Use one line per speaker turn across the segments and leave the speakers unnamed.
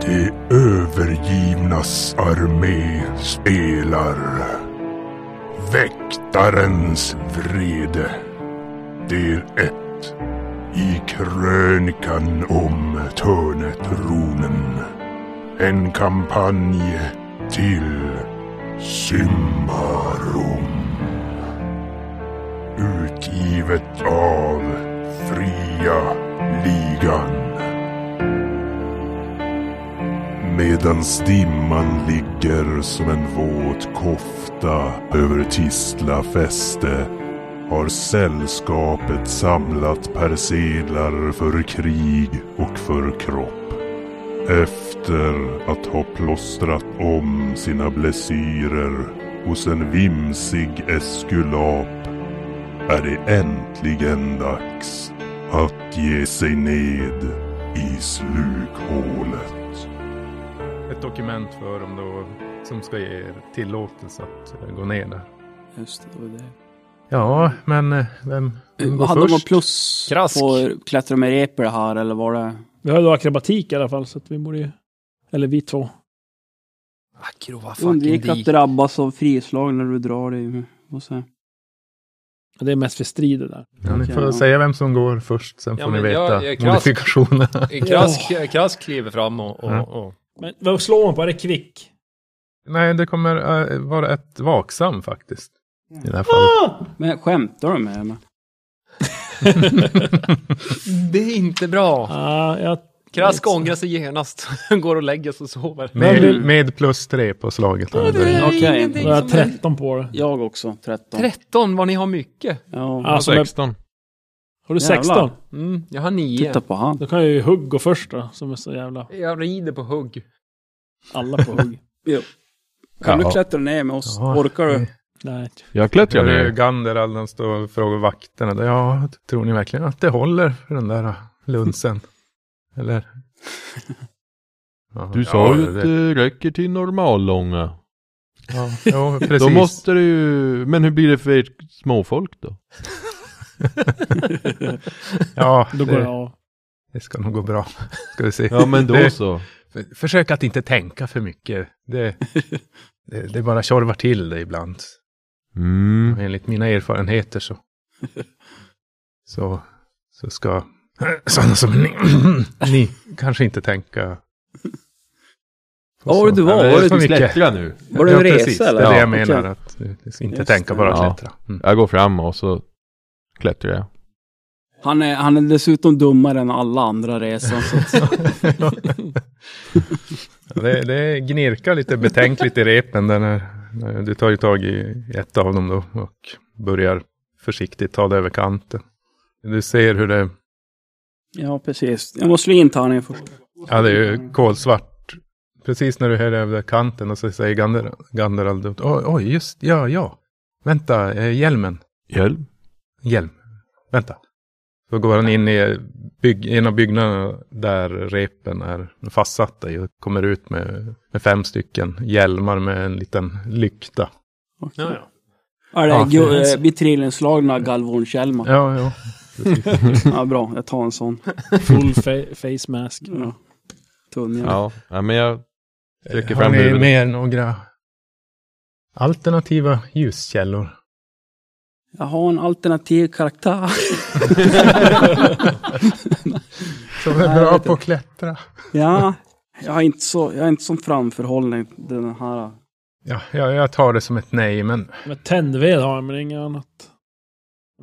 De övergivnas armé spelar Väktarens vrede Del 1 I krönikan om Törnetronen En kampanj till Symbarom Utgivet av Fria Ligan Medans dimman ligger som en våt kofta över Tistla fäste har sällskapet samlat persedlar för krig och för kropp. Efter att ha plåstrat om sina blessyrer hos en vimsig eskulap är det äntligen dags att ge sig ned i slukhålet.
Ett dokument för dem då som ska ge er tillåtelse att eh, gå ner där.
Just det, det var det.
Ja, men eh, vem,
Mm,
vem går
Hade de något
först?
plus
Krask.
på klättra med repor här eller var det?
Vi har ju då akrobatik i alla fall så att vi borde ju... Eller vi två.
Akro, vad fucking
Undvik att
dik.
drabbas av frislag när du drar dig. Vad säger jag?
Det är mest för strid det där.
Ja, ni
Okej,
får
ja.
säga vem som går först, sen
Ja,
får ni
men jag-
veta
jag är krass.
modifikationerna.
Krask, krask kliver fram och... och,
Ja.
och.
Men vad slår man på? Är det kvick?
Nej, det kommer eh, vara ett vaksam faktiskt. I det här fallet.
Men skämtar du med mig?
Det är inte bra.
Ja, jag...
Krask ångrar sig genast. Går och lägger sig och sover.
Mm.
Med,
vill-
med plus tre på slaget. här.
Okej.
Jag har 13 på det.
Jag också, 13.
13, vad ni har mycket.
Ja,
Alltså, med,
16.
har du
Jävlar.
16?
Mm, jag har 9.
titta på han.
Då kan jag ju hugg gå först då, som är så jävla...
Jag rider på hugg.
Alla på hugg.
Kan
Ja.
du klättra ner med oss?
Ja.
Orkar du?
Nej.
Jag klättrar
Hur
ner.
Gander Allan står och frågar vakterna. där, Ja, tror ni verkligen att det håller för den där eh, lunsen? Eller? Ja,
Du sa
ja,
ju att
det-
det räcker till normallånga.
Ja, jo, precis.
Då måste det ju... Men hur blir det för ert småfolk då?
Ja,
Då går jag
det,
av.
det ska nog gå bra. Ska vi se.
Ja men då
Det-
så.
F- Försök att inte tänka för mycket. Det, det, det bara tjorvar till det ibland.
Mm.
Enligt mina erfarenheter så, så, så ska sådana som ni, ni kanske inte tänka. på
Ja, var det
sånt.
du var?
Ja,
Var
är för
det
Du
mycket.
klättrar nu.
Var det en resa
precis.
eller?
Det är det jag
Ja,
menar.
okej.
Att eh, inte
Just
tänka,
det.
bara
Ja.
klättra. Mm.
Jag går fram och så klättrar jag.
Han är, han är dessutom dummare än alla andra resan. Så att,
Ja, det, det gnirkar lite betänkligt i repen. Där när, när du tar ju tag i ett av dem då och börjar försiktigt ta det över kanten. Du ser hur det,
ja, precis. Jag måste slå in tärningen först.
ja det är ju kolsvart. Precis när du hör över kanten och så säger Gander, Ganderald, oj oj, just, ja ja. Vänta, eh, hjälmen,
Hjälm.
hjälm, vänta. Så går han in i bygg, en av byggnaderna där repen är fastsatta i och kommer ut med, med fem stycken hjälmar med en liten lykta.
Okej.
Ja,
Ja, det
Ja,
är gu-
precis.
eh, vitrinslagna galvonkällman.
Ja, ja.
Ja, bra. Jag tar en sån.
Full fa- face mask.
Ja. Tunn ja.
Ja. ja men jag sträcker
Har
fram
ni
huvudet.
mer några alternativa ljuskällor?
Jag har en alternativ karaktär.
Som är
Nej, jag
bra
vet
på att klättra.
Ja, jag har inte så, jag har inte sån framförhållning. Den här.
Ja, jag, jag tar det som ett nej, men
Men tändved har jag, men inget annat.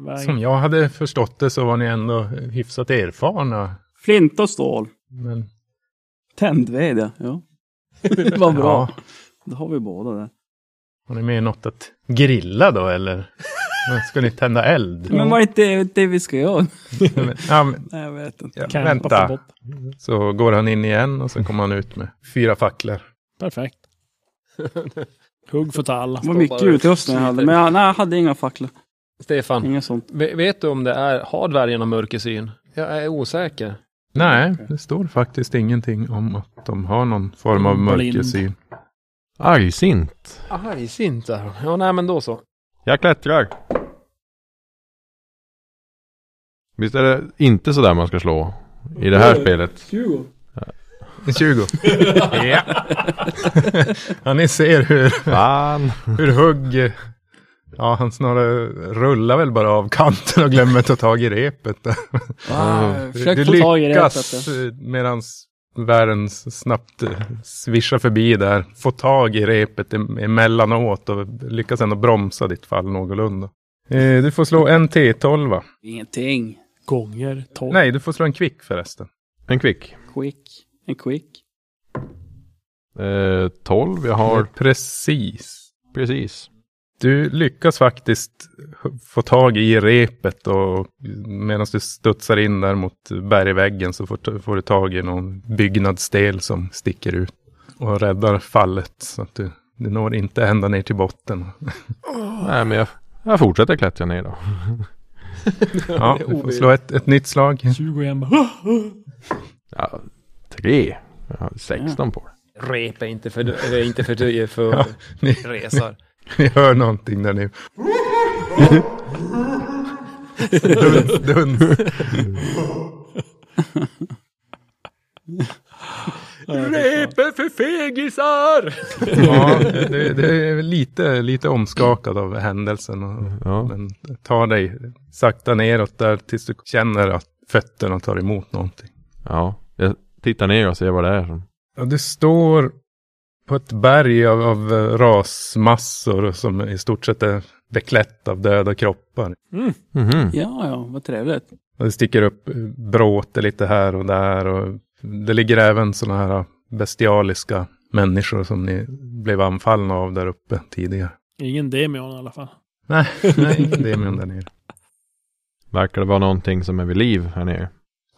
Väg.
som jag hade förstått det så var ni ändå hyfsat erfarna.
Flint och stål.
Men,
Tändved, ja. ja. Det var bra.
Ja,
Då har vi båda där.
har ni med något att grilla då, eller? Men Ska ni tända eld?
Men var det inte det vi ska göra?
Men, ja, men,
Nej, jag vet inte.
ja,
Campa på
vänta.
botten.
Så går han in igen och så kommer han ut med fyra facklor.
Perfekt. Hugg för att ta alla.
Det var mycket utrustning jag hade, men jag, nej, jag hade inga facklor.
Stefan,
Inga sånt.
ve- vet du om det är, har dvärgarna mörkersyn? Jag är osäker.
Nej, det står faktiskt ingenting om att de har någon form av
Blind.
mörkersyn.
Argsint.
Argsint är de. Ja, nej men då så.
Jag klättrar. Visst är det inte sådär man ska slå? I det här spelet.
En 20. ja. ja, ni ser hur,
Fan.
hur hugg... Ja, han snarare rullar väl bara av kanten och glömmer ta tag i repet. Där.
Ah, försök
du
få tag i det.
lyckas medan världen s- snabbt eh, svischar förbi där. Få tag i repet em- emellanåt och lyckas ändå bromsa ditt fall någorlunda. Eh, Du får slå en T12. va?
Ingenting.
Gånger tolv.
Nej, du får slå en kvick förresten.
En quick.
Quick. En quick.
Eh, 12, jag har...
Precis.
Precis.
Du lyckas faktiskt h- få tag i repet och medan du studsar in där mot bergväggen så får, t- får du tag i någon byggnadsdel som sticker ut och räddar fallet så att du, du når inte ända ner till botten.
Nej, men jag, jag fortsätter klättra ner då.
Ja, du får slå ett, ett nytt slag.
20 igen bara.
Ja, 3. Jag har 16 på det.
Rep är inte för, är inte för, för
Ni,
resar.
ni hör någonting där nu. duns, duns.
Rep är för fegisar!
Ja, det, det är väl lite, lite omskakad av händelsen. Och,
Ja.
Men ta dig sakta neråt där tills du känner att fötterna tar emot någonting.
Ja, jag tittar ner och ser vad det är. som-
Ja, du står på ett berg av, av eh, rasmassor som i stort sett är beklätt av döda kroppar.
Mhm.
Ja, ja, vad trevligt.
Och det sticker upp eh, bråte lite här och där. Och det ligger även sådana här eh, bestialiska människor som ni blev anfallna av där uppe tidigare.
Ingen Demion i alla fall.
Nej, nej det är med där nere.
Verkar det vara någonting som är vid liv här nere?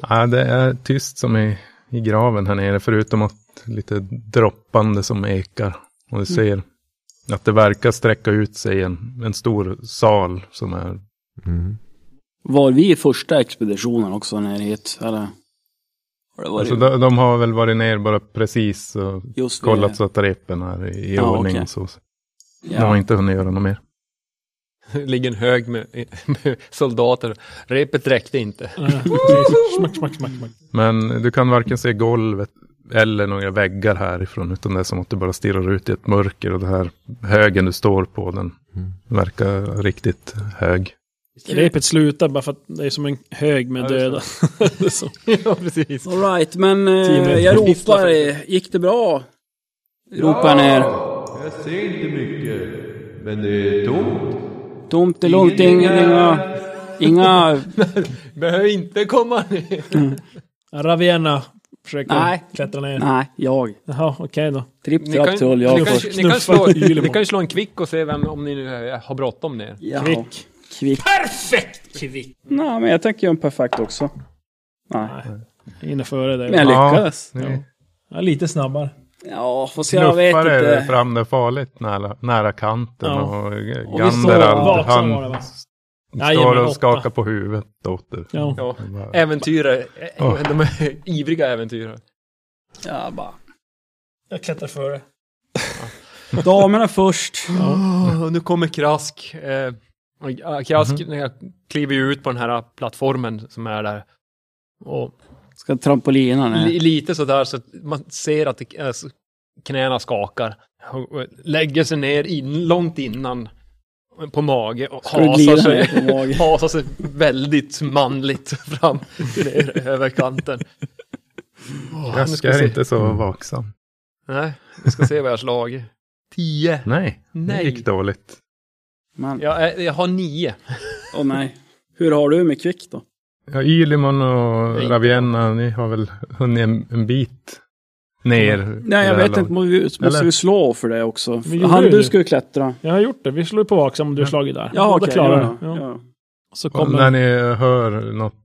Ja, det är tyst som i, i graven här nere, förutom att lite droppande som ekar. Och
Mm.
du ser att det verkar sträcka ut sig en, en stor sal som är...
Mm.
Var vi i första expeditionen också när hit? Eller? Har det varit
Alltså, de, de har väl varit ner bara precis och
just vid-
kollat så att repen är i, i
Ja,
ordning.
okej.
Så. De har
Ja.
inte hunnit göra något mer.
Ligger en hög med, med soldater. Repet räckte inte.
Nej, precis. smack, smack, smack, smack.
Men du kan varken se golvet eller några väggar härifrån, utan det är som att du bara stirrar ut i ett mörker och det här högen du står på, den
Mm.
verkar riktigt hög.
Repet slutar bara för att det är som en hög med döda. Så.
ja, precis.
All right, men eh,
Tio meter.
jag ropar. eh, Gick det bra? Ropar ner.
Jag ser inte mycket, men det är tomt.
Tomt, det är lugnt. Inga... Inga... inga
Behöver inte komma ner.
Ravenna försöker
Nej.
klättra ner.
nej, jag.
Jaha, okej då.
Tripp,
Ni kan,
trapp, trull.
ni,
Jag
kan,
först.
ni, kan
Knuffa
slå,
Ylemo.
ni kan ju slå en kvick och se vem, om ni nu eh, har bråttom ner.
Jaha.
Kvick.
Kvick.
Perfekt kvick!
Nej, men jag tänker göra en perfekt också. Nej.
Inne före
Men jag
dig.
Ja.
lyckas.
Ni-
Ja, lite snabbare.
Ja, får se. Jag vet
knuffar er
inte.
fram där farligt nära, nära kanten
Ja.
och
Och vi står
Ganderald
vaksam
han
var det, va?
står
Jajamän,
och
åtta.
skakar på huvudet åt det.
Ja.
Ja.
Bara,
Äventyrare. Eh,
Oh.
De är ivriga äventyrare.
Ja, bara.
Jag klättrar före.
Damerna först.
Åh, nu kommer Krask. Eh, och, ja, krask när jag kliver ju ut på den här plattformen som är där. Och
Ska trampolinan
li,
ner.
lite sådär så att man ser att det, alltså, knäna skakar. Och, och lägger sig ner in, långt innan på mage och
du
hasar
glida
sig,
ner på mage?
hasar sig väldigt manligt fram ner över kanten. Åh, nu
Rask
ska vi
är
se.
inte så vaksam.
Nej, vi ska se vad jag har slagit. Tio.
Nej, det
Nej.
gick dåligt.
Men, åh
Jag, jag har nio.
nej. Hur har du med kvick då?
Ja, Ylimon och
Nej.
Ravienna, ni har väl hunnit en, en bit ner.
Nej,
i det
jag
här
vet inte.
laget.
Må- vi- Måste
Eller?
vi slå för det också?
Men gjorde
Han,
du
du
det?
ska ju klättra.
Jag har gjort det. Vi slår ju på vaksam om du har slagit där.
Ja,
Båda
okej.
klarar
ja,
det.
ja.
Ja.
Ja.
Så
Och När
kommer den
ni hör något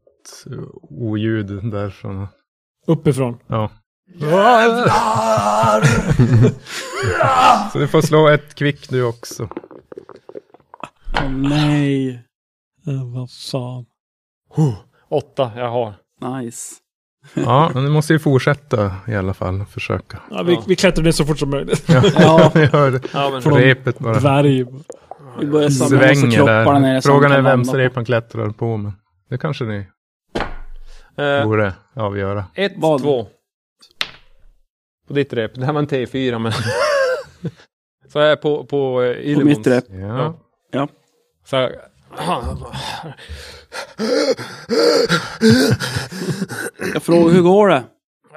oljud därifrån.
uppifrån.
Ja. så du får slå ett kvick du också.
Åh, nej.
Äh, vad fan.
Åtta, jag har.
Nice.
Ja, men du måste ju fortsätta i alla fall försöka.
Ja, vi,
Ja.
vi klättrar ner så fort som möjligt.
Ja.
Ni hör
Ja, men,
repet bara.
Dvärg.
Vi börjar samla oss och
svänger
kropparna
där.
ner. så
Frågan
de
är
kan
vems
landa på-
rep han klättrar på, men det kanske ni
eh,
borde avgöra.
ett,
Vad?
två. På ditt rep. Det här var en T4 men... så jag är på, på eh,
På
Illibons.
mitt rep.
Ja.
Ja.
Så jag...
Jag frågar hur går det?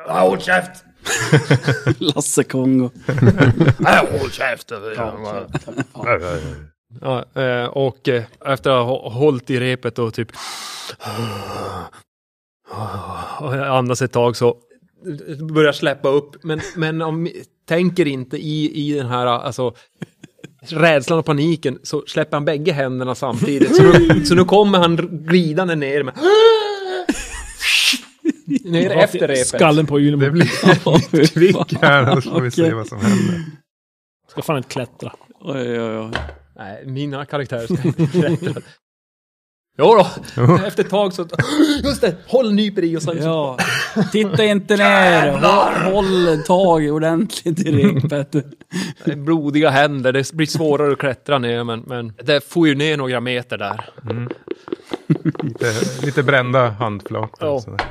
Håll käft!
Lasse Kongo.
Håll käft! Ja, eh, och eh, efter att ha hå- hållit i repet och typ och jag andas ett tag så börjar släppa upp. Men, men om, tänker inte i, i den här alltså, rädslan och paniken så släpper han bägge händerna samtidigt. Så nu, så nu kommer han glidande ner med ner efter repet.
Skallen på Ylemo.
Det blir
Oj,
kvick här och så får vi se
Okej.
vad som händer.
Ska fan inte klättra.
oj, oj.
Nej, mina karaktärer ska inte berätta. Jo då, efter ett tag så... Just det, håll nyper i och sen så...
Ja. Titta inte ner. Håll- Håll tag ordentligt i
Mm.
repet.
Blodiga händer, det blir svårare att klättra ner men... men det får ju ner några meter där.
Lite, lite brända handflator.
Ja.
och sådär.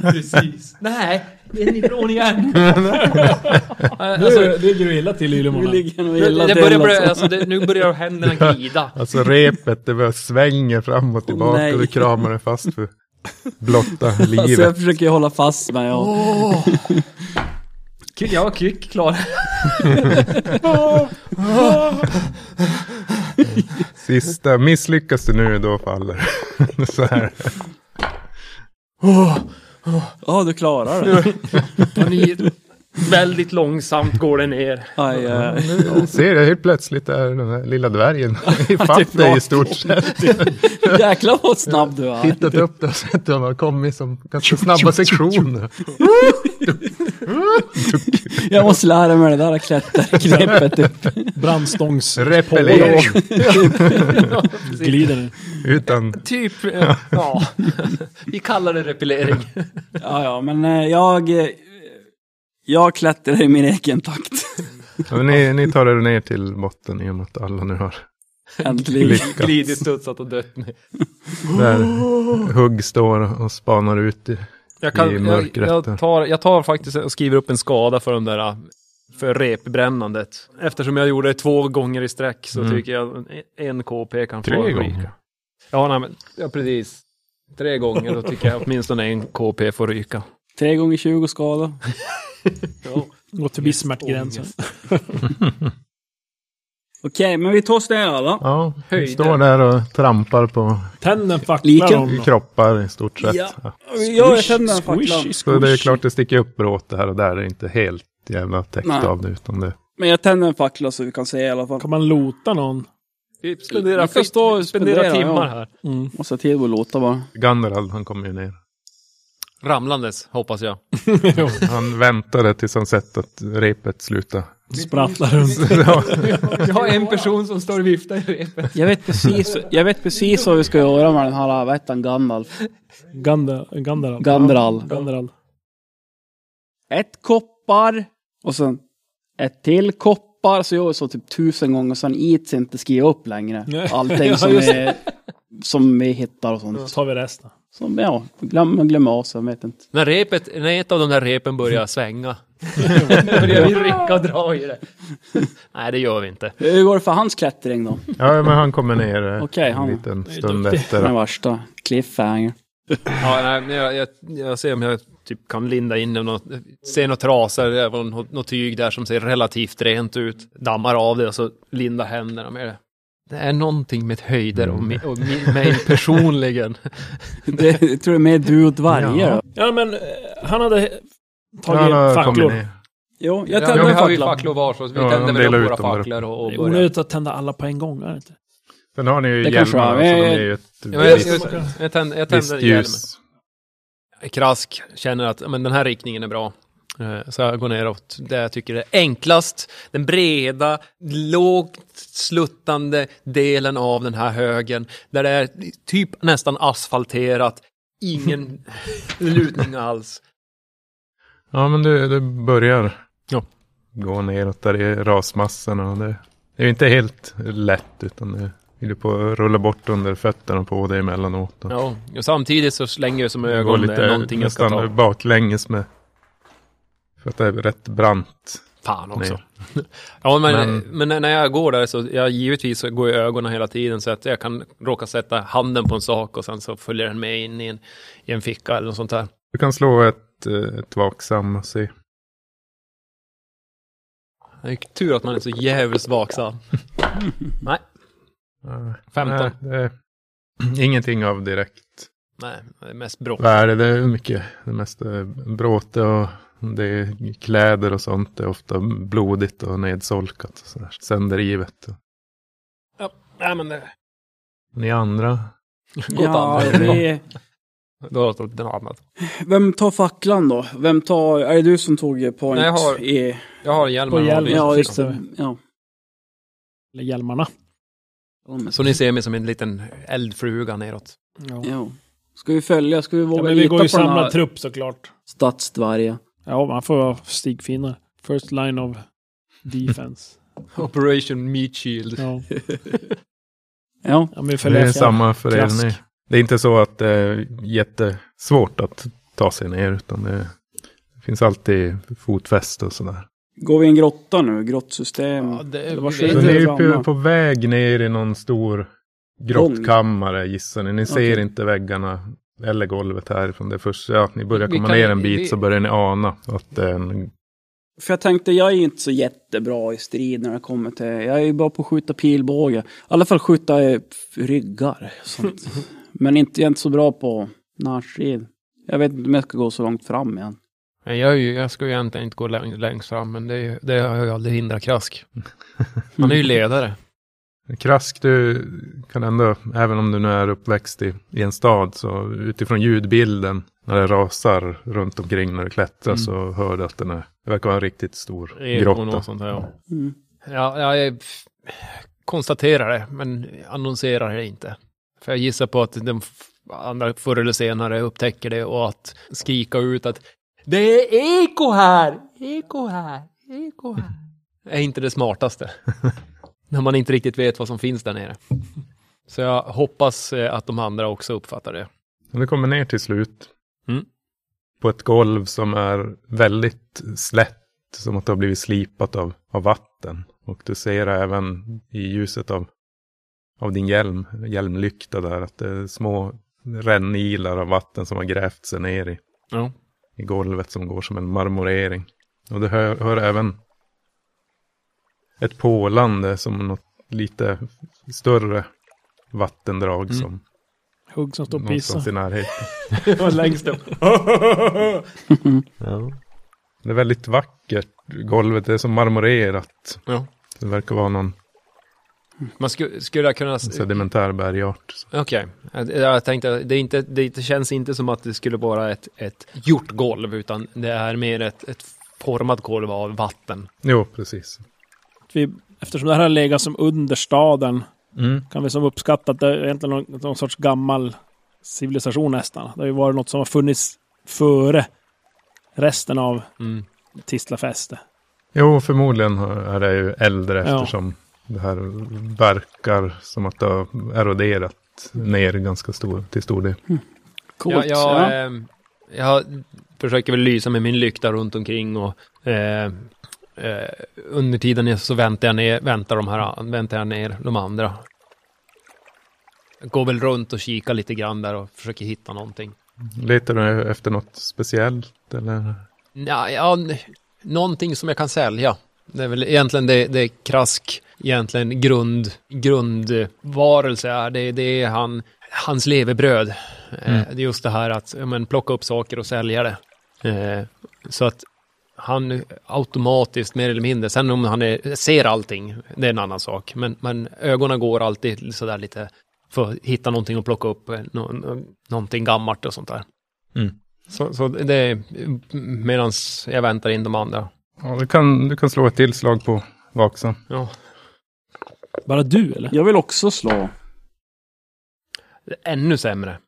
Precis. Nej, det är ifrån igen. alltså,
Nu ligger du illa till Ylemo.
Vi
Mm.
ligger nog
det,
illa
det
till.
börjar, börja-
alltså.
alltså, det, nu börjar händerna glida.
Alltså repet, det bara svänger fram och tillbaka
nej.
och du kramar den fast för blotta
Alltså jag
livet.
försöker ju hålla fast mig. Och...
Kul, Jag var kvick, klar.
Sista, misslyckas du nu då faller så här.
Ja, du klarar det.
Panik. Väldigt långsamt går det ner.
Aj, aj.
Du ser jag helt plötsligt är den här lilla dvärgen
typ
ifatt dig i stort sett.
Jäklar vad snabb du är.
Tittat upp där och sett att han har kommit som ganska snabba sektioner.
Jag måste lära mig det där klätterknepet. Upp.
Brandstångs...
Repellering
Glider nu.
utan
Typ, eh, ja. Vi kallar det repellering.
Ja, ja, men eh, jag... eh, Jag klättrar i min egen takt.
Ja, men ni, ni tar er ner till botten i och med att alla nu har
Äntligen.
lyckats.
Glidit, studsat och dött ner.
Där Hugg står och spanar ut. I.
Jag,
I
kan, jag,
mörkret där.
jag, tar, jag tar faktiskt och skriver upp en skada för de där äh, för repbrännandet. Eftersom jag gjorde det två gånger i sträck så
Mm.
tycker jag en- en KP kan få
Tre
ryka.
gånger.
Ja, nej, men, ja, precis. Tre gånger, då tycker jag åtminstone en KP får ryka.
Tre gånger 20 skador.
Går förbi smärtgränsen.
Okej, men vi tar oss ner alla.
Ja, vi
Höjder.
står där och trampar på
Tänden facklar
Liken.
honom.
kroppar i stort sett.
Ja.
Ja.
Ja, jag känner den facklan.
Squish,
Så det är
squish.
klart det sticker upp bråte här och där. Det är inte helt jävla täckt
Nej.
av det. Utan det
Men jag tänder en fackla så vi kan se i alla fall.
Kan man lota någon?
Vi spenderar,
Vi kan
skit-
stå och
spenderar
spendera,
timmar
ja.
här.
Måste ha tid att låta bara.
Ganderald, han kommer ju ner.
Ramlandes, hoppas jag.
Han väntade tills han sett att repet slutade.
Sprattlar runt.
Jag har en person som står och viftar i repet.
Jag vet precis, jag vet precis vad vi ska göra med den här, vad heter han, Gandalf?
Gandar- Gandaral.
Gandaral.
Gandaral.
Ett koppar och sen ett till koppar. Så gör vi så typ tusen gånger så han eats inte skriva upp längre.
Nej.
Allting
Ja,
som,
just
vi, som vi hittar och sånt.
Så tar vi resten.
Som, ja, glöm, glöm av sig, jag vet inte.
När, repet, när ett av de där repen börjar svänga. börjar vi rycka och dra i det. Nej, det gör vi inte.
Hur går det för hans klättring då?
Ja, men han kommer ner eh,
Okej, han-
en liten
är
stund
duktig.
efter.
Den värsta cliffhanger.
Ja, nej, men jag, jag, jag ser om jag typ kan linda in något, ser något trasor, även något, något tyg där som ser relativt rent ut, dammar av det och så lindar händerna med det. Det är någonting med höjder och,
Mm.
mi, och mi, mig personligen.
Det jag tror jag är mer du och dvärge
Ja.
då.
Ja, men eh, han hade
Han
tagit
har kommit
facklor.
ner.
Jo, jag
ja,
tänder
vi
en
har ju
fackla.
facklor var, så vi
Ja,
tänder
de
väl
delar
upp
ut
våra
dem där
facklor och, och
Det är
börjar.
onödigt att tända alla på en gång, är det inte?
Sen har ni ju
Det kanske
hjälmar,
var-
så de är ju ett
Ja, men jag,
visst-
jag, jag tänder, jag tänder
visst
hjälmen.
ljus.
Krask känner att ja, men den här riktningen är bra. Eh, Så jag går neråt där jag tycker det är enklast. Den breda, lågt sluttande delen av den här högen. Där det är typ nästan asfalterat. Ingen lutning alls.
Ja, men du, du börjar
Ja.
gå neråt där i rasmassorna. Och det, det är ju inte helt lätt, utan det vill ju på att rulla bort under fötterna på dig emellanåt. Och
Ja, och samtidigt så slänger jag som
gå
ögon det är någonting jag ska ta.
nästan baklänges med För att det är rätt brant.
Fan också.
Nej.
Ja, men,
Men-
men... när jag går där så, jag givetvis så går jag i ögonen hela tiden så att jag kan råka sätta handen på en sak och sen så följer den med in i en, i en ficka eller något sånt där.
Du kan slå ett, eh, ett vaksam och se.
Det är tur att man är så jävligt vaksam. Nej,
Eh,
15.
nej, det är ingenting av direkt
Nej, det är mest bråk.
värde. Det är mycket, det mesta är bråte och det är kläder och sånt. Det är ofta blodigt och nedsolkat och sådär. Sönderrivet.
Ja, nej, men det...
Ni andra?
Gott
Ja,
annat.
vi,
Då har jag något annat.
vem tar facklan då? Vem tar... Är det du som tog eh, point?
Nej, jag har-
i,
Jag har hjälmen.
På
och
hjälmen.
lyser.
ja, just
fixar
det. Ja.
Eller hjälmarna.
Ja, men-
Så ni ser mig som en liten eldfluga neråt.
Ja. Ska vi följa? Ska vi
Ja,
våga
men vi
lita
går ju
på den här
samlad trupp såklart.
stadsdvärgen?
Ja, man får vara stigfinnare. First line of defense.
Operation Meat Shield.
ja.
Ja.
ja, men vi
Det
följer
är
efter.
samma för
Krask.
er nu. Det är inte så att det är jättesvårt att ta sig ner utan det finns alltid fotfäste och sådär.
Går vi i en grotta nu? Grottsystem?
Ja, det,
Det var
vi
skönt.
Så
vet-
ni är ju
detsamma.
på, på väg ner i någon stor grottkammare gissar ni. Ni ser
Okej.
inte väggarna eller golvet härifrån. Det första ja, att ni börjar
Vi
komma
kan-
ner en bit
vi-
så börjar ni ana att det är en...
För jag tänkte, jag är ju inte så jättebra i strid när det kommer till... Jag är ju bra på att skjuta pilbåge. I alla fall skjuta eh, f- ryggar. och Sånt. Men inte, jag är inte så bra på närstrid. Jag vet inte om jag ska gå så långt fram igen.
Nej, Jag, är ju- jag ska ju egentligen inte gå läng- längst fram, men det, är ju- det har jag aldrig hindrat Krask. Han är ju ledare.
Krask, du kan ändå, även om du nu är uppväxt i, i en stad, så utifrån ljudbilden när det rasar runt omkring när du klättrar
Mm.
så hör du att den är, det verkar vara en riktigt stor
Och
grotta.
något sånt här, ja.
Mm.
Ja, jag är- konstaterar det, men annonserar det inte. För jag gissar på att de f- andra förr eller senare upptäcker det och att skrika ut att det är eko här, eko här, eko här. är inte det smartaste. När man inte riktigt vet vad som finns där nere. Så jag hoppas eh, att de andra också uppfattar det.
Men du kommer ner till slut.
Mm.
På ett golv som är väldigt slätt. Som att det har blivit slipat av, av vatten. Och du ser även i ljuset av, av din hjälm, hjälmlykta där, att det är små rännilar av vatten som har grävt sig ner i,
Ja.
i golvet som går som en marmorering. Och du hör, hör även ett pålande som något lite större vattendrag
Mm.
som
Hugg som står och
någonstans
pissar.
i närheten.
Det var längst upp.
Ja.
Det är väldigt vackert. Golvet det är som marmorerat.
Ja.
Det verkar vara någon
Man sku, skulle jag kunna... s-
sedimentär bergart.
Okej, jag, jag tänkte att det, är inte, det känns inte som att det skulle vara ett, ett gjort golv utan det är mer ett, ett format golv av vatten.
Jo, precis.
Vi, eftersom det här har legat som under staden
Mm.
kan vi som uppskatta att det är egentligen någon, någon sorts gammal civilisation nästan. Det har ju varit något som har funnits före resten av
Mm.
Tislafäste.
Jo, förmodligen har- är det ju äldre
Ja.
eftersom det här verkar som att det har eroderat ner ganska stor, till stor del.
Coolt.
jag, jag,
ja.
ehm, jag försöker väl lysa med min lykta runt omkring och eh, eh, under tiden så väntar jag ner, väntar de här, väntar jag ner de andra. Jag går väl runt och kikar lite grann där och försöker hitta någonting.
Letar du efter något speciellt eller?
Ja, ja, n- någonting som jag kan sälja. Det är väl egentligen det, det är krask, egentligen grund, grundvarelse är. Det, det är han, hans levebröd. Eh, det är just det här att ja, men, plocka upp saker och sälja det. Eh, så att han automatiskt, mer eller mindre, sen om han är, ser allting, det är en annan sak. Men, men ögonen går alltid sådär lite för att hitta någonting och plocka upp, eh, nå- nå- någonting gammalt och sånt där. Så, så det är medan jag väntar in de andra.
Ja, du, kan, du kan slå ett tillslag på vaksam.
Ja.
Bara du eller?
jag vill också slå.
Ännu sämre.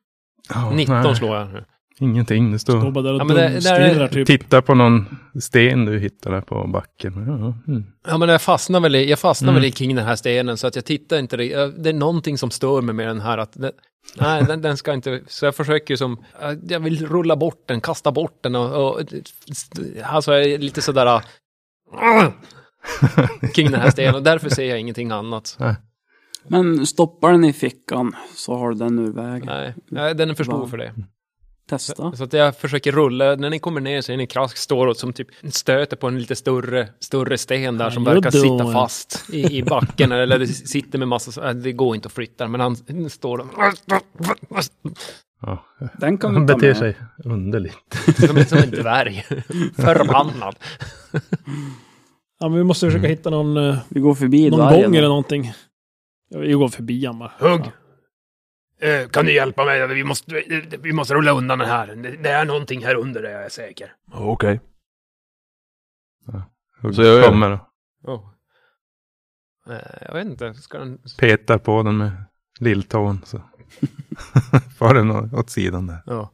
Ja,
19
nej.
slår jag nu.
Ingenting, det
Står
står...
bara där och
Ja, men det- där
dumstirrar
är-
typ.
Titta på någon sten du hittade på backen. Ja, mm.
Ja, men jag fastnar väl i, jag fastnar
Mm.
väl i kring den här stenen så att jag tittar inte. ri- jag- Det är någonting som stör mig med den här. Att den, nej, den, den ska inte... Så jag försöker ju som... eh, Jag vill rulla bort den, kasta bort den och... och alltså jag är lite sådär... ah, kring den här stenen och därför ser jag ingenting annat.
Men stoppa den i fickan så har du den ur vägen.
Nej, nej, den är för stor för det.
Testa.
Så att jag försöker rulla. När ni kommer ner så är ni krask står och som typ stöter på en lite större, större sten där som
How you
verkar sitta
doing?
fast i, i backen. eller det sitter med massa... så- äh, Det går inte att flytta den, men han står och...
ja.
Den kan
Han
vi ta
beter
med.
sig underligt.
Som, som en dvärg. Förbannad.
Ja, men vi måste försöka hitta någon, eh,
Vi går förbi
någon
dvärgen.
gång eller någonting. Ja, Vi går förbi han bara.
Hugg. Eh, Kan du hjälpa mig? Vi måste, eh, vi måste rulla undan den här. Det- Det är någonting här under, det är jag säker.
Okej. Så
Så
jag gör det.
jag kommer och
Eh, Jag vet inte, ska den...
petar på den med lilltån. Så. Far den å- åt sidan där.
Ja.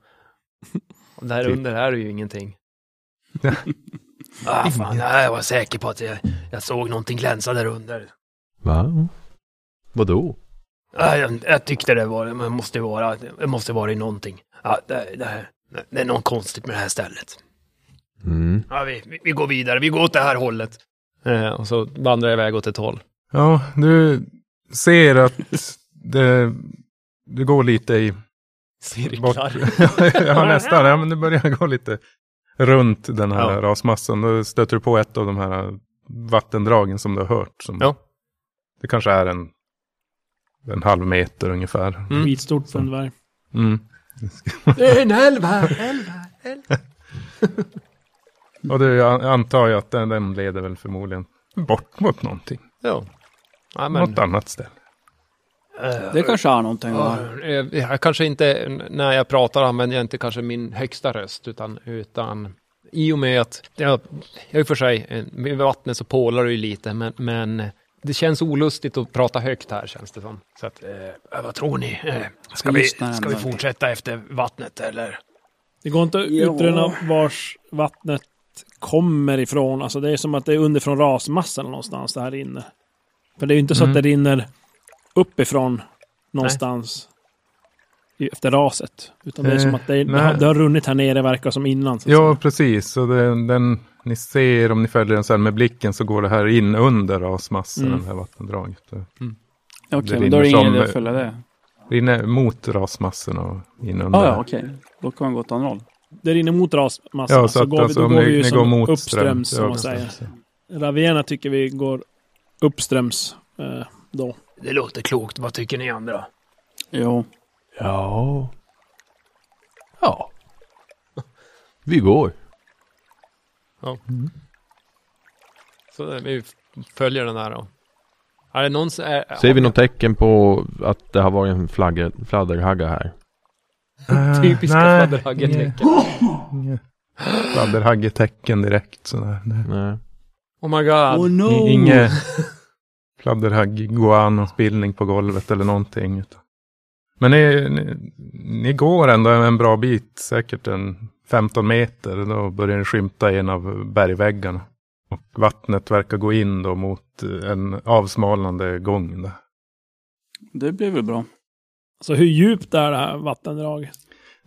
Där
Typ.
under är det ju ingenting. ah, fan, nej, jag var säker på att jag, jag såg någonting glänsa där under.
Va? Vadå?
Ah, jag, jag tyckte det var, men måste vara, det måste vara i någonting. Ah, det, det, här- det är något konstigt med det här stället.
Mm.
Ja, vi, vi, vi går vidare, vi går åt det här hållet. Eh, och så vandrar jag iväg åt ett håll.
Ja, du ser att det, du går lite i... ja, nästan. Ja, men det börjar gå lite runt den här
Ja.
rasmassan. Då stöter du på ett av de här vattendragen som du har hört. Som,
Ja.
Det kanske är en, en halv meter ungefär.
Mm.
Skitstort för en dvärg.
Mm.
Det är en älv här! Älv här.
Och du, jag antar ju att den, den leder väl förmodligen bort mot någonting.
Ja. Ja, men,
Något annat ställe.
Det kanske är någonting
Ja,
där.
eh, jag kanske inte, när jag pratar använder jag inte kanske min högsta röst, utan, utan i och med att, jag, jag i och för sig, eh, med vattnet så pålar det ju lite, men, men det känns olustigt att prata högt här känns det som. Så att, eh, vad tror ni? Eh, ska, vi,
lyssnar
ska vi
ändå.
fortsätta efter vattnet eller?
Det går inte att
Ja.
utröna vars vattnet kommer ifrån. Alltså det är som att det är underifrån rasmassan någonstans det här rinner. För det är ju inte så
Mm.
att det rinner uppifrån någonstans i- efter raset. Utan det är
Eh,
som att det, det,
nej.
har, det har runnit här nere verkar som innan. Så att
Ja, precis. Så den, den, ni ser, om ni följer den sen med blicken, så går det här in under rasmassan,
Mm.
det här vattendraget. Det
Okej,
det
men då är det
rinner
ingen
som-
idé att följa det.
rinner mot rasmassan och in under.
Ah, ja, okej. Då kan man gå åt andra håll.
säga. Det rinner mot rasmassan.
Ja, så
så
att
går vi,
alltså,
då
om
går
ni,
vi ju
ni går
som
mot
uppströms som
ja,
man säger.
precis.
Ravierna tycker vi går uppströms eh, då.
Det låter klokt, vad tycker ni andra?
Jo.
Ja. Ja. Vi går.
Så eh, vi följer den här då. Är det någon eh, som är...
Ser vi något tecken på att det har varit en flagge, fladderhagga här?
Eh,
Typiska
nej,
fladderhaggetecken.
inget- inget Fladderhaggetecken direkt sådär. Nej.
Nej.
Oh my god.
Oh no!
I- Inget fladderhagg-guano-spillning på golvet eller någonting. utan- Men ni, ni, ni går ändå en bra bit, säkert en 15 meter. Då börjar ni skymta en av bergväggarna. Och vattnet verkar gå in då mot eh, en avsmalnande gång. Där.
Det blir väl bra.
Så hur djupt är det här vattendraget?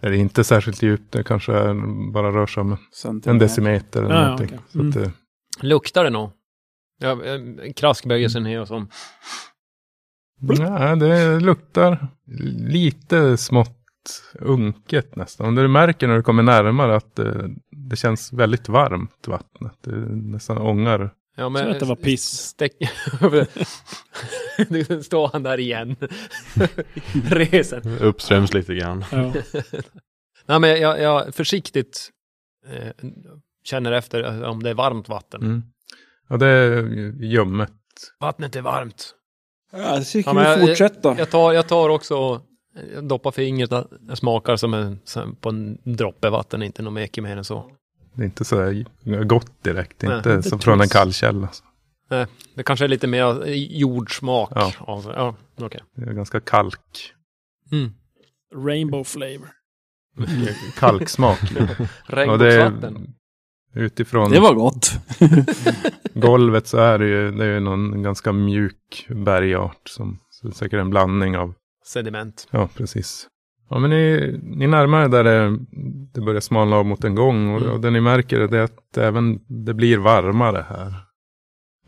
Det är inte särskilt djupt, det kanske är, bara rör sig om
Sen till
en
det.
decimeter eller
Ja, ja,
någonting.
okej. Mm.
Så att, det-
Luktar det nog? Ja, eh, krask böjer sig ner och så.
Nej, det luktar lite smått unket nästan. Och Du märker när du kommer närmare att eh, det känns väldigt varmt vattnet. Det nästan ångar.
Ja,
Jag tror att det var piss.
Stäck... Nu står han där igen. Reser.
Uppströms lite grann.
Ja.
Nej, men jag, jag försiktigt eh, känner efter eh, om det är varmt vatten.
Ja, det är ljummet.
Vattnet är varmt.
Ja, så
Ja,
kan
men jag-
vi fortsätta.
Jag tar, jag tar också och jag doppar fingret och jag smakar som en, som på en droppe vatten, inte något mycket mer än så.
Det är inte så där gott direkt.
Nej,
inte som från en kall källa. så.
Det kanske är lite mer eh, jordsmak.
Ja.
Av, ja, okej.
Det är ganska kalk.
Mm.
Rainbow flavor.
kalksmak. Och det är,
Regnbågsvatten.
utifrån
Det var gott.
golvet så är det ju, det är ju någon ganska mjuk bergart som så det är säkert en blandning av
Sediment.
Ja, precis. Ja, men ni, ni närmar er där det, det börjar smalna av mot en gång och,
Mm.
och det ni märker är det att även det blir varmare här.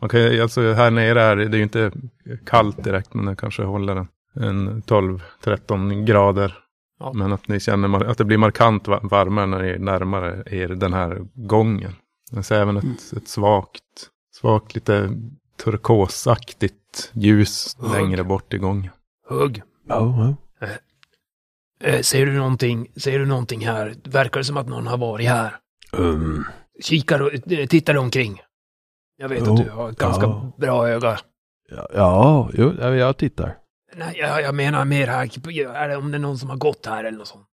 Man kan, ju- alltså här nere är det det är ju inte kallt direkt, men det kanske håller en, en 12-13 grader.
Ja.
Men att ni känner mar- att det blir markant va- varmare när ni är närmare er den här gången. Jag ser även
Mm.
ett, ett svagt, svagt lite turkosaktigt ljus
Hugg.
längre bort i gången.
Hugg.
Oh, oh.
Eh, ser du någonting? Ser du någonting här? Verkar det som att någon har varit här?
Um,
Kikar och eh, tittar omkring. Jag vet
Jo,
att du
Oh,
har ett ganska
ja.
bra öga.
ja, ja, jo, ja, jag tittar.
Nej, jag, jag menar mer här, är det, om det är någon som har gått här eller något sånt.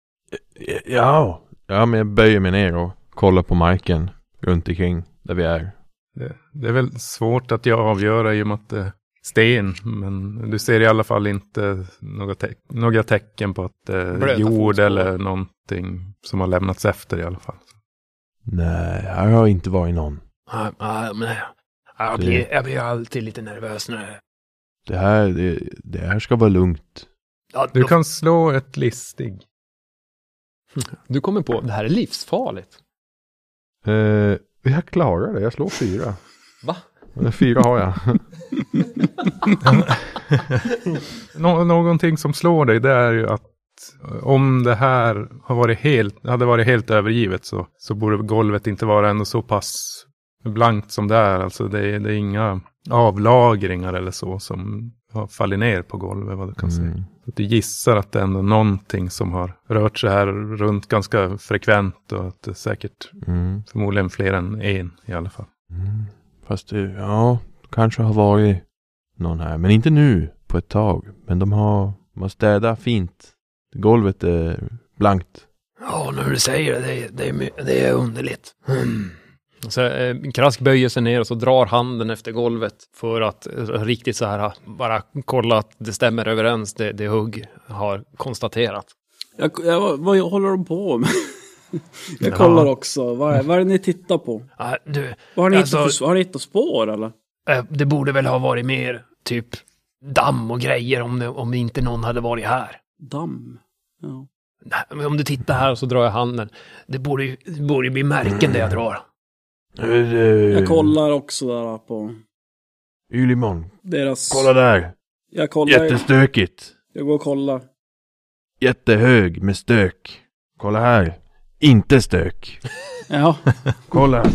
Ja. Ja, men jag böjer mig ner och kollar på marken runt omkring där vi är.
Det, det är väl svårt att jag avgöra i och med att det är sten. Men du ser i alla fall inte några, te- några tecken på att det är
Blöta
jord
fotspår.
eller någonting som har lämnats efter i alla fall.
Nej, här har inte varit någon.
Ja, ja, men Jag
Det-
blir, jag blir alltid lite nervös när...
Det här, det, det här ska vara lugnt.
Ja,
Du
då-
kan slå ett listig.
du kommer på, det här är livsfarligt.
Eh, jag klarar det, jag slår fyra.
Va?
Men Fyra har jag.
Nå- någonting som slår dig det är ju att om det här har varit helt, hade varit helt övergivet så, så borde golvet inte vara ändå så pass blankt som det är. Alltså det, är- det är inga avlagringar eller så som har fallit ner på golvet vad du kan säga.
Mm.
Så att du gissar att det är ändå någonting som har rört sig här runt ganska frekvent och att det är säkert
Mm.
förmodligen fler än en i alla fall.
Mm. Fast det, ja, kanske har varit någon här. Men inte nu på ett tag. Men de har, de har städat fint. Golvet är blankt.
Ja, när du säger det, det, är- det, är my- det är underligt. Mm. Så, eh, Krask böjer sig ner och så drar handen efter golvet för att eh, riktigt så här bara kolla att det stämmer överens det, det Hugg har konstaterat.
Jag, jag, vad jag håller de på med? Jag kollar också. Vad är, vad är det ni tittar på?
Ja, du,
Vad har ni
Alltså-
hittat för, har ni hittat spår eller?
eh, det borde väl ha varit mer typ damm och grejer om, det, om inte någon hade varit här.
Damm? Ja.
Nej, men Om du tittar här och så drar jag handen. Det borde ju, det borde ju bli märken det jag drar.
Jag kollar också där på
Ylimon,
deras...
kolla där.
Jag kollar.
Jättestökigt.
Jag går och kollar.
Jättehög med stök. Kolla här. Inte stök.
Ja,
Kolla.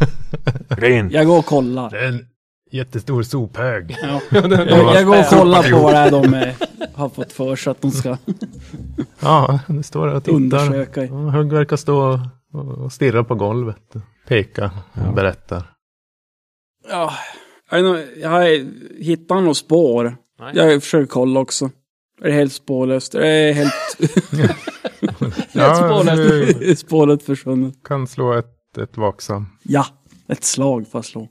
Rent.
jag går och kollar.
är en jättestor sophög.
Ja. Jag, jag går och kollar på vad det är de eh, har fått för sig att de ska
Ja, det står och tittar.
undersöka. i.
Ja, Hugg verkar stå och- och stirra på golvet. Peka och
Ja.
berättar.
Ja, jag, vet inte, jag har- hittar några spår.
Nej.
Jag försöker kolla också. Är det helt spårlöst? Är det helt
Ja, du
spåret försvunnet?
kan slå ett, ett vaksam.
Ja, ett slag för att slå.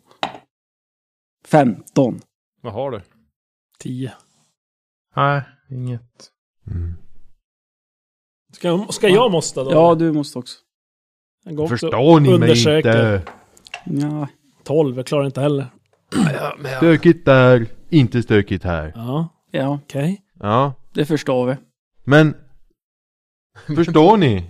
15.
Vad har du?
10.
Nej, inget.
Mm.
Ska, jag- ska jag måste då?
Ja, du måste också.
Jag går också-
Förstår ni mig
undersöker.
inte?
Ja.
12, jag klarar inte heller.
Ja, men jag,
Stökigt där, inte stökigt här.
Ja,
ja,
okej.
Ja,
det förstår vi.
men förstår ni?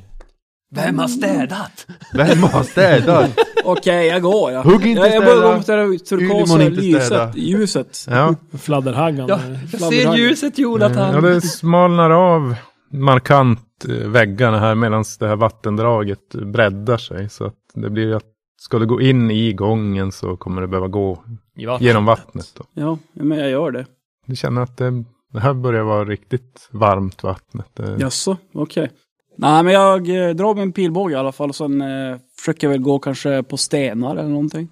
vem har städat?
Vem har städat?
Okej, jag går ja.
Hugg inte
jag, jag börjar gå
städa.
mot det där turkosa
Ylimon inte städa.
lyset, ljuset.
Ja,
Fladderhaggan.
ser Fladderhaggan. ljuset,
Jonathan.
ja det smalnar av markant eh, väggarna här medan det här vattendraget breddar sig. Så att det blir att ska du gå in i gången så kommer du behöva gå genom vattnet. Då.
Ja, men jag gör det.
Du känner att det, det här börjar vara riktigt varmt vattnet. Eh, Det-
Jaså, okej. Nej, men jag eh, drar min pilbåge i alla fall och sen eh, försöker jag väl gå kanske på stenar eller någonting.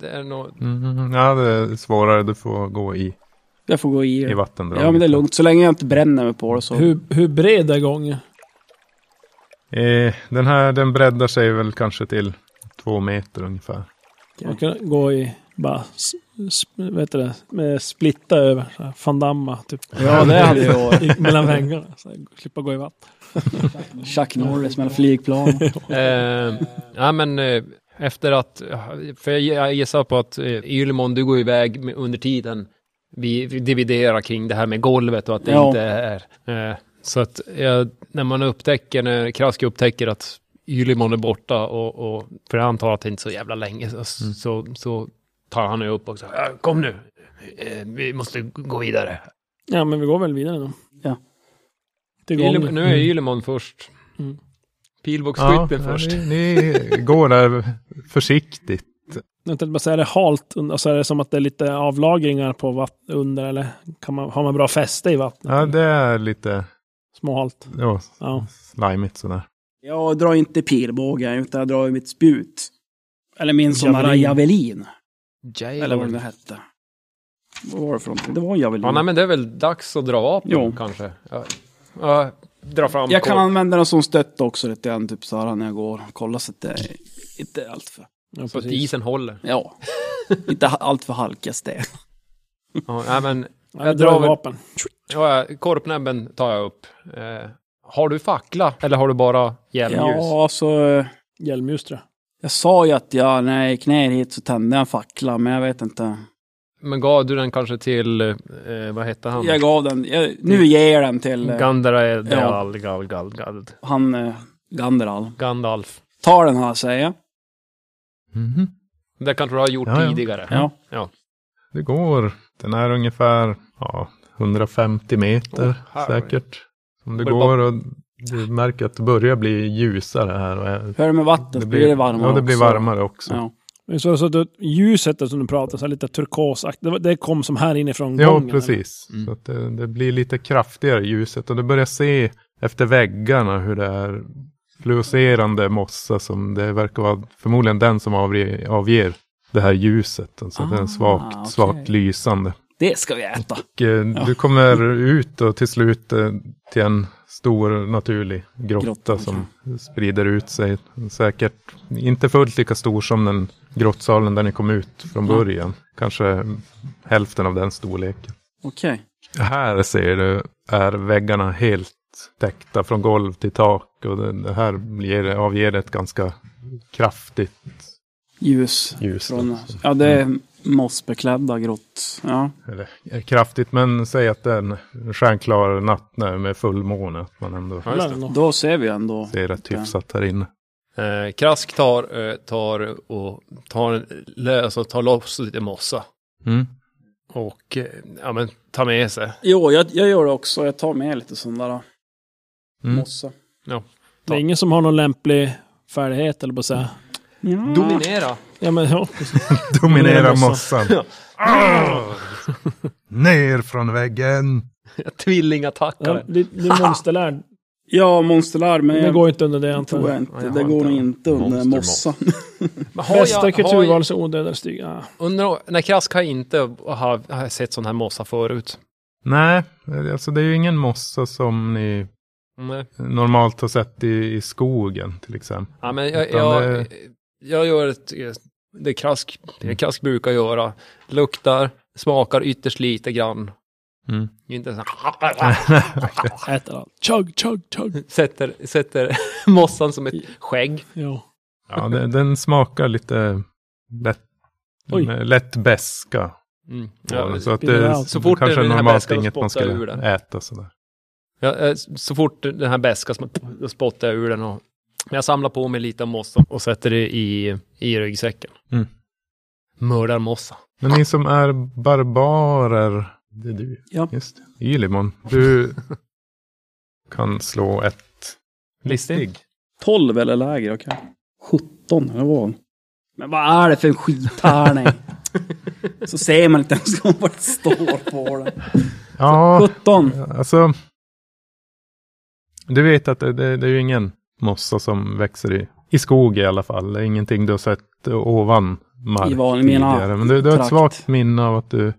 Det är nog...
Mhm, ja, det är svårare. Du får gå i,
Jag får gå i.
i vattendraget.
ja, men det är lugnt. Så länge jag inte bränner mig på det så.
Hur, hur bred är gången?
Eh, den här den breddar sig väl kanske till två meter ungefär.
Man kan gå i bara s- sp- vad heter det, med splitta över. Så här, fandamma typ.
Ja, det hade ju varit.
I- Mellan väggarna. Så här, slippa gå i vatten.
Chuck Norris mellan flygplan.
Eh, ja, men eh, efter att, för jag- jag gissar på att eh, Ylmon, du går iväg med, under tiden vi vi dividerar kring det här med golvet och att det
Ja.
inte är. Eh, så att jag- när man upptäcker, när Krask upptäcker att Ylmon är borta och, och för han tar att det inte är så jävla länge så,
Mm.
så, så tar han ju upp och så, "Ja, kom nu, Eh, vi måste gå vidare.
Ja, men vi går väl vidare då.
Ja.
Till
Ylmon-
gången.
nu är Ylmon först.
Mm.
ja,
Pilbågsskytten först.
Ni, ni går där försiktigt.
Mm. Jag tänkte bara säga, är det halt? under- Alltså är det som att det är lite avlagringar på vatten under? Eller kan man, har man bra fäste i vattnet?
Ja, det är lite
Småhalt.
ja,
Ja.
slimigt sådär.
Jag drar inte pilbågen, utan jag drar ju mitt spjut. Eller min sån här
Javelin.
javelin. Eller vad
Javelin.
den hette. Vad var det för någonting? Det var en javelin.
Ja, nej, men det är väl dags att dra vapen
Jo.
kanske. Ja. Ja, dra fram
jag kan
kol-
använda den som stött också lite grann, typ så här när jag går. Kolla så att det är inte är allt för...
Ja,
så att
precis.
isen håller.
Ja. inte ha- allt för halkas det.
Ja, nej, men,
Ja,
Jag
jag
drar
drar
väl-
vapen.
ja, korpnäbben tar jag upp. Eh, har du fackla eller har du bara jävljus?
Ja, alltså...
Hjälmljus tror jag.
Jag sa ju att jag, när jag gick ner hit så tände jag en fackla, men jag vet inte.
Men gav du den kanske till, eh, vad hette han?
Jag gav den, jag, nu ger jag den till eh,
Gandalf.
Ja.
Gal, gal, gal, gal,
han eh, Ganderal.
Gandalf.
Ta den här säger jag.
Mhm.
Det kanske du har gjort
Ja, ja.
tidigare.
Ja.
Det går. Den är ungefär ja, 150 meter
Åh, herregud.
säkert. Om du
Var det
går och du märker att det börjar bli ljusare här. Och är-
Hör det med vattnet blir det varmare
Ja, det blir
också.
varmare också.
Ja.
Men Så, så det, ljuset där som du pratade, så här lite turkosaktigt, det, var- det kom som här inifrån
Ja,
gången? eller?
precis.
Mm.
Så att det, det blir lite kraftigare ljuset och du börjar se efter väggarna hur det är fluorescerande mossa som det verkar vara förmodligen den som avre- avger det här ljuset. Alltså det
Ah,
är svagt,
okej.
svagt lysande.
Det ska vi äta.
Och, eh, Du kommer ut och till slut eh, till en stor naturlig grotta,
Grotta,
som sprider ut sig. Säkert inte fullt lika stor som den grottsalen där ni kom ut från
Mm.
början. Kanske hälften av den storleken.
Okej.
Här ser du är väggarna helt täckta från golv till tak och det det här ger, avger ett ganska kraftigt
Ljus.
ljus.
Från, ja, det är mossbeklädda grott. Ja.
Eller eh, kraftigt, men säg att det är en stjärnklar natt nu med fullmåne. Att man ändå
Ja, just det.
Eller något.
Då ser vi ändå.
ser rätt hyfsat här inne.
Eh, Krask tar, eh, tar och tar, lös och tar loss lite mossa.
Mm.
Och eh, ja, men, tar med sig.
Jo, jag, jag gör det också. Jag tar med lite sån där äh,
Mm.
mossa.
Det är ingen som har någon lämplig färdighet, eller på att säga.
Ja.
Dominera.
Ja, men ja.
Dominera
Dominera
Mm.
mossan. Ah! Ner från väggen.
ja
Tvillingattackare.
det, det är monsterlärd.
Ja, monsterlarm. Men
Det
jag
går inte under det antar
tror jag
jag.
inte.
Ja, jag
det
har
går
inte
nog
den.
inte under
Monstermoss.
mossa.
Men har jag- har
Bästa
jag-
kulturval så Ah, odödar stiga. Ja.
Undrar, nej, Krask har inte har, har sett sån här mossa förut.
Nej, alltså det är ju ingen mossa som ni
Mm, Nej.
normalt har sett i, i skogen till exempel.
Ja, men jag,
Utan eh,
jag,
det-
jag gör ett, det Krask, det Krask brukar göra. Luktar, smakar ytterst lite grann.
Mm.
Inte så,
Äter allt. Chug, chug, chug.
sätter, sätter mossan som ett skägg.
Ja.
Ja, den, den smakar lite lätt,
Oj.
lätt beska.
Mm.
Ja,
Ja,
så att
spiller
det,
out.
Så fort
kanske
den här
normalt
beskan
inget man
spottar ur
skulle
den.
äta sådär.
ja, eh, så fort den här beskas, då spottar jag ur den. Och, men jag samlar på mig lite av mossa och sätter det i, i ryggsäcken.
Mm.
Mördar mossa.
Men ni som är barbarer, det är du.
Ja.
Just det. Ylimon, du kan slå ett listig.
12 eller lägre, okej. 17, eller vad? Men vad är det för en skithärning? Så ser man inte ens vad det står på den.
Ja,
17.
alltså. Du vet att det, det, det är ju ingen mossa som växer i, i skog i alla fall. Det är ingenting du har sett ovan mark
I vanlig mina
tidigare. Men du, du har ett
trakt.
svagt minne av att du
Hört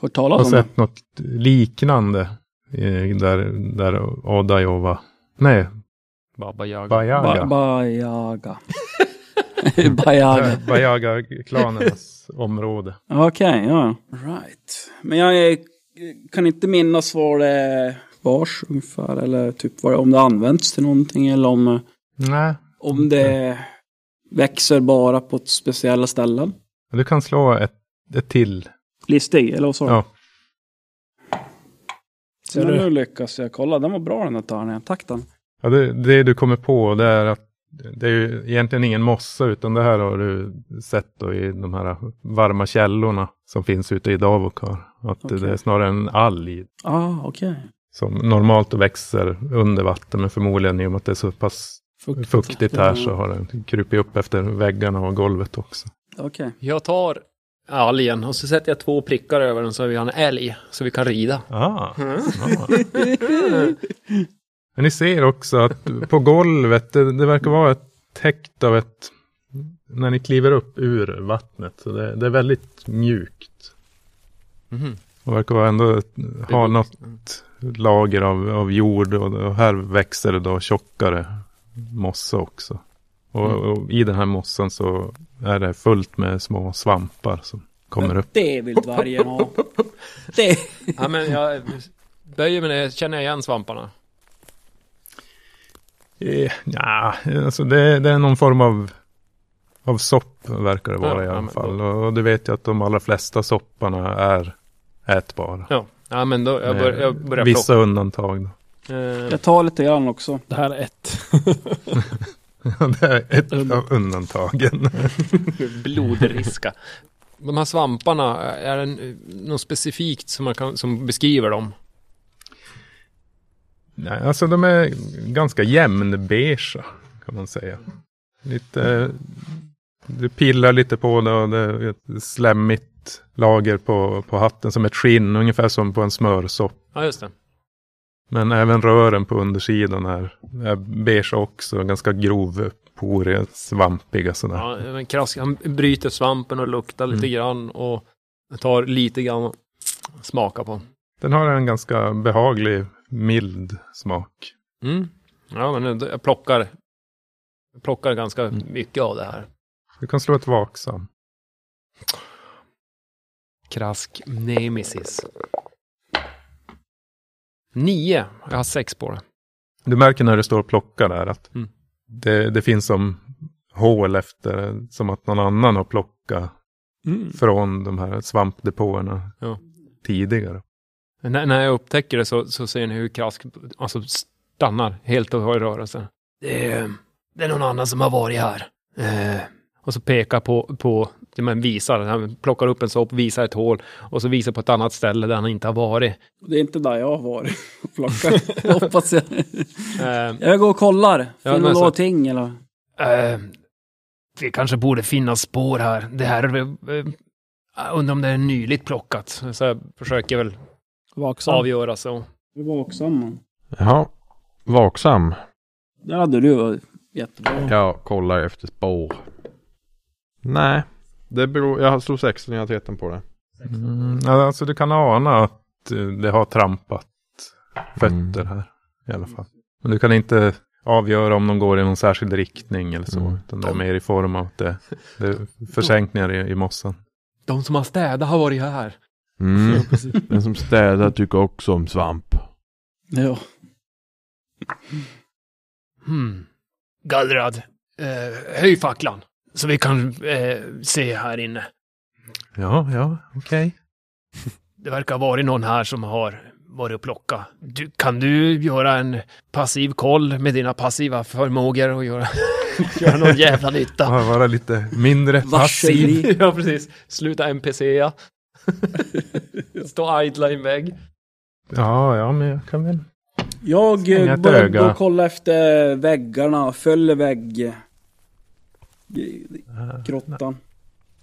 har
talas om det?
sett något liknande eh, där, där Odajova, nej,
Baba Yaga.
Bajaga.
Ba- Bajaga. Bajaga.
Bajaga-klanernas område.
Okej, ja. Right. Men jag eh, kan inte minnas var det vars ungefär. Eller typ var det, om det används till någonting eller om,
Nej,
om det växer bara på ett speciella ställen.
du kan slå ett, ett till.
Listig, eller vad sa du?
Ja.
Så
Ser du?
nu lyckas jag. Kolla, den var bra den där tärningen. Tack den.
Ja, det, det du kommer på det är att det är ju egentligen ingen mossa utan det här har du sett då i de här varma källorna som finns ute i Davokar. Att
Okej.
det är snarare en alg
Ah, okej.
som normalt växer under vatten men förmodligen i och med att det är så pass
Fuktigt.
fuktigt här
Ja.
så har den krupit upp efter väggarna och golvet också.
Okej.
Jag tar algen och så sätter jag två prickar över den så vi har en älg så vi kan rida.
Ah, smart. Men ni ser också att på golvet, det, det verkar vara ett täckt av ett, när ni kliver upp ur vattnet, så det, det är väldigt mjukt. Och verkar vara ändå ha något lager av, av jord och, och här växer det då tjockare mossa också. Och, och i den här mossan så är det fullt med små svampar som kommer upp.
Det vill dvärgen ha. Det.
Ja, men jag böjer mig ner, känner jag igen svamparna?
Eh, Ja, alltså det, det är någon form av, av sopp verkar det vara i
Ja, ja,
alla
men
fall. Och, du vet ju att de allra flesta sopparna är ätbara.
Ja. Ja, men då, jag, bör,
Med
jag börjar
Eh, Vissa
plocka.
undantag. Då.
Eh,
Jag tar lite grann också.
Det här är ett.
Ja, det är ett av undantagen.
blodriska. De här svamparna, eh, är det något specifikt som, man kan, som beskriver dem?
Nej, alltså de är ganska jämnbeiga kan man säga. Lite, du pillar lite på det och det är ett slemmigt lager på, på hatten som ett skinn, ungefär som på en smörsopp.
Ja, just det.
Men även rören på undersidan är, är beige också. Ganska grov, poriga, svampiga sådär.
Ja, men krask, han bryter svampen och luktar
Mm.
lite grann och tar lite grann och smakar på.
Den har en ganska behaglig, mild smak.
Mm. Ja, men jag plockar, jag plockar ganska mycket av det här.
Du kan slå ett vaksam.
Krask nemesis. Nio. Jag har sex på det.
Du märker när du står och plockar där att
Mm.
det, det finns som hål efter, som att någon annan har plockat
Mm.
från de här svampdepåerna
Ja.
tidigare.
När, när jag upptäcker det så, så ser ni hur Krask alltså, stannar helt och hållet i rörelse. Det är, det är någon annan som har varit här. Eh. Och så pekar på, på ja, men visar, han plockar upp en sopp, visar ett hål och så visar på ett annat ställe där han inte har varit.
Det är inte där jag har varit och plockat. Hoppas jag.
Eh,
Jag går och kollar.
Ja,
Finner
men så-
någonting eller?
Eh, det kanske borde finnas spår här. Det här... Eh, jag undrar om det är nyligt plockat. Så jag försöker väl
Vaksam.
avgöra så.
Du var vaksam.
Jaha. Vaksam.
Där hade du varit jättebra.
Jag kollar efter spår. Nej. Det beror, jag slog 16 jag har 13 på det.
Mm, alltså du kan ana att eh, det har trampat fötter
Mm.
här i alla fall. Men du kan inte avgöra om de går i någon särskild riktning eller så.
Mm.
Utan det är mer i form av att det, det är försänkningar i, i mossan.
De som har städat har varit här.
Mm. Den som städar tycker också om svamp.
Ja.
Hmm. Gallrad, eh, höj facklan. Så vi kan eh, se här inne.
Ja, ja, okej.
Det verkar ha varit någon här som har varit och plockat. Du, kan du göra en passiv koll med dina passiva förmågor och göra, göra någon jävla nytta?
Bara vara lite mindre passiv.
Varsel.
ja, precis. Sluta NPC, ja. Stå och idla i en vägg.
Ja, ja, men jag kan väl.
Jag
Stänga
eh,
ett
börjar
öga.
gå och kolla efter väggarna. Följer vägg...
Ah,
Grottan.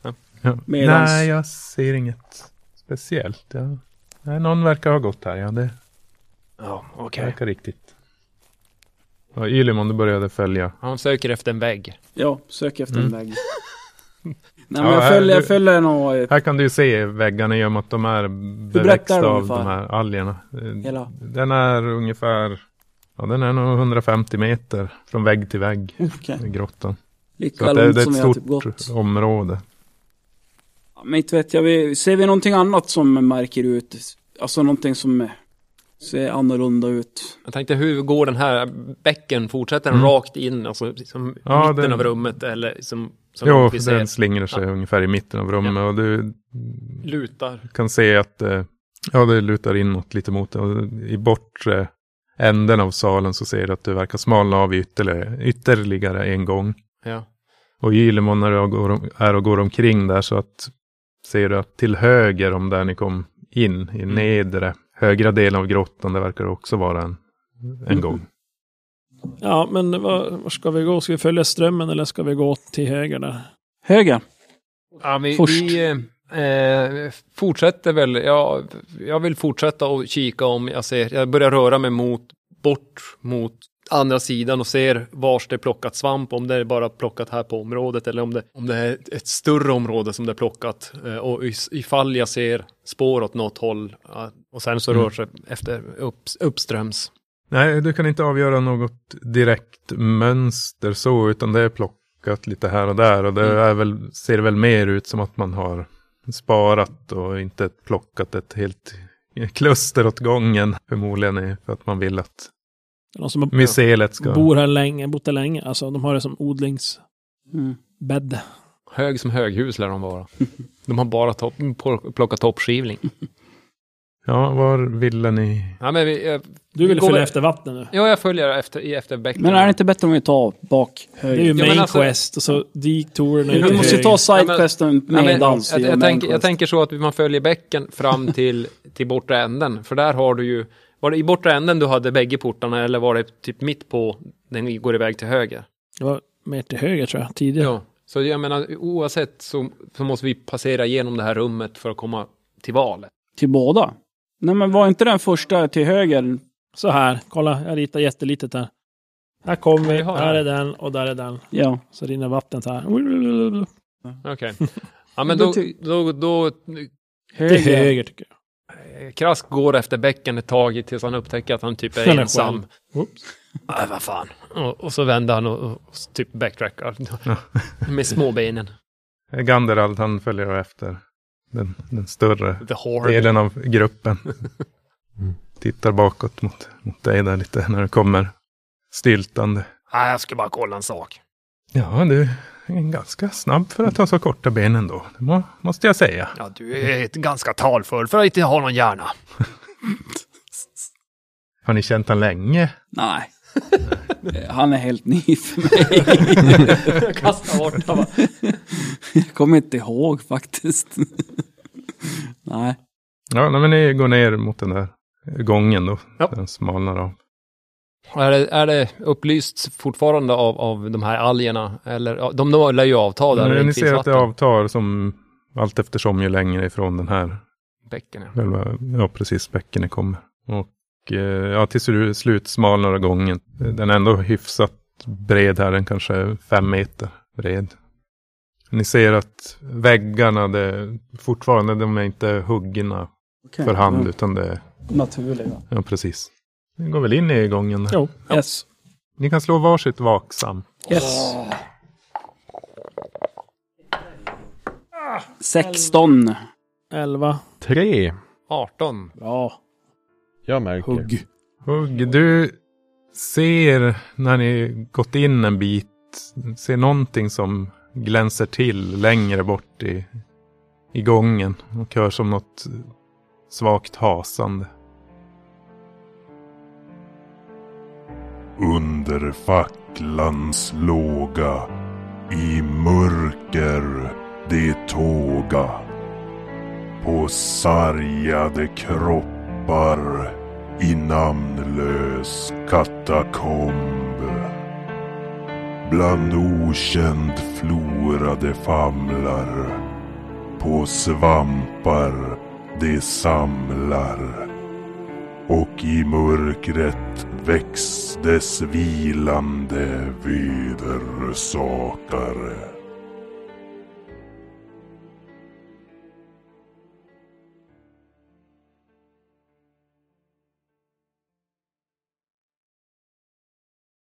Ja.
Medans-
Nej, jag ser inget speciellt. Ja. Nej, någon verkar ha gått här. Ja, det
Ja, okej.
verkar riktigt. Ja, Ylimon, du började följa.
Han söker efter en vägg.
Ja, sök efter en vägg. Nej, men
Mm. Ja,
jag
här,
följer,
du-
jag följer nog... eh,
Här kan du ju se väggarna i och med att de är beväxta
de
av
ungefär?
de här algerna. Eh,
Hela.
Den är ungefär, ja den är nog 150 meter från vägg till vägg
Okej.
i grottan. Så
Lika
att det,
långt
det är
som
ett
vi har typ gått.
stort område.
Ja, Men inte vet jag, vi, ser vi någonting annat som märker ut? Alltså någonting som eh, ser annorlunda ut.
Jag tänkte hur går den här bäcken? Fortsätter den
Mm.
rakt in, alltså som
Ja,
mitten
den-
av rummet eller som, som
Jo,
vi ser
den slingrar sig ungefär i mitten av rummet och du
lutar?
kan se att eh, ja, det lutar inåt lite mot det. Och I bortre änden av salen så ser du att du verkar smalna av ytterligare, ytterligare en gång.
Ja.
Och Ylemon när du går, om- är och går omkring där så att ser du att till höger om där ni kom in i nedre högra delen av grottan, det verkar också vara en, en gång.
Ja, men var, var ska vi gå? Ska vi följa strömmen eller ska vi gå till höger där?
Höger.
Ja, vi,
Först.
vi eh, eh, fortsätter väl. Jag, jag vill fortsätta och kika om jag ser. Jag börjar röra mig mot, bort mot andra sidan och ser vars det är plockat svamp. Om det är bara plockat här på området eller om det, om det är ett, ett större område som det är plockat. Eh, och is- ifall jag ser spår åt något håll. ja, och sen så
Mm.
rör sig efter upps- uppströms.
Nej, du kan inte avgöra något direkt mönster så, utan det är plockat lite här och där. Och det
Mm.
är väl, ser väl mer ut som att man har sparat och inte plockat ett helt kluster åt gången. Förmodligen är för att man vill att
Det är Någon som har
mycelet ska...
bor här länge, bott här länge. Alltså de har det som odlingsbädd.
Mm.
Hög som höghus lär de vara. De har bara topp, plockat toppskivling.
Ja, var ville ni?
Ja, men vi, jag,
Du vill
Går
följa
vi-
efter vatten nu.
ja, jag följer efter, i efter bäcken.
Men är det inte bättre om vi tar bak
Det
höger?
är ju
men
main
alltså-
quest och så detourerna ut
vi
till
måste ju
höger.
ta sidequesten
Ja, men,
medans.
jag,
vi
jag,
gör
tänker, jag
mainquest.
tänker så att man följer bäcken fram till, till bortre änden. För där har du ju, var det i bortre änden du hade bägge portarna eller var det typ mitt på, den går iväg till höger?
Det var mer till höger tror jag, tidigare.
Så jag menar, oavsett så, så måste vi passera igenom det här rummet för att komma till valet.
Till båda? Nej men var inte den första till höger?
Så här, kolla, jag ritar jättelitet här. Här kommer vi,
Jaha.
här är den och där är den.
Ja.
Så rinner vattnet här.
Okej. Ja, men
Då
då,
ty-
då, då,
Till höger tycker jag.
Eh, Krask går efter bäcken ett tag tills han upptäcker att han typ är
Han är
ensam.
själv. Whoops.
Aj, vad fan. Och, och så vänder han och, och typ backtrackar med småbenen.
Ganderald, han följer efter den, den större
The horde.
delen av gruppen.
Mm.
Tittar bakåt mot, mot dig där lite när du kommer styltande.
Nej, jag skulle bara kolla en sak.
Ja, du är ganska snabb för att ha så korta ben ändå. Det må, måste jag säga.
Ja, du är ett ganska talfull för att inte ha någon hjärna.
Har ni känt honom länge?
Nej. Han är helt ny för mig.
Kasta bort honom.
Jag kommer inte ihåg faktiskt. Nej.
Ja, nej, men ni går ner mot den där gången då.
Ja.
Den smalnar av.
Är det, är det upplyst fortfarande av, av de här algerna? Eller, ja, de de lär ju avta där.
Men
det
ni
inte finns
ser att det
vatten.
avtar som allt eftersom ju längre ifrån den här
Bäcken, ja.
Själva, ja precis, bäcken kommer. Och eh, ja, tills du slutsmalnar gången. Den är ändå hyfsat bred här, den kanske är fem meter bred. Ni ser att väggarna, det, fortfarande, de är inte huggna
Okay.
för hand, utan det
Naturliga.
ja precis. Ni går väl in i gången? här.
Jo.
Yes.
Ni kan slå varsitt vaksam.
Yes. 16.
11.
Tre.
18.
Bra.
Jag märker.
Hugg.
Hugg, du ser när ni gått in en bit, ser någonting som glänser till längre bort i, i gången och hör som något svagt hasande.
Under facklans låga i mörker det tåga på sargade kroppar i namnlös katakomb bland okänd flora det famlar på svampar det samlar och i mörkret väcks dess vilande vedersakare.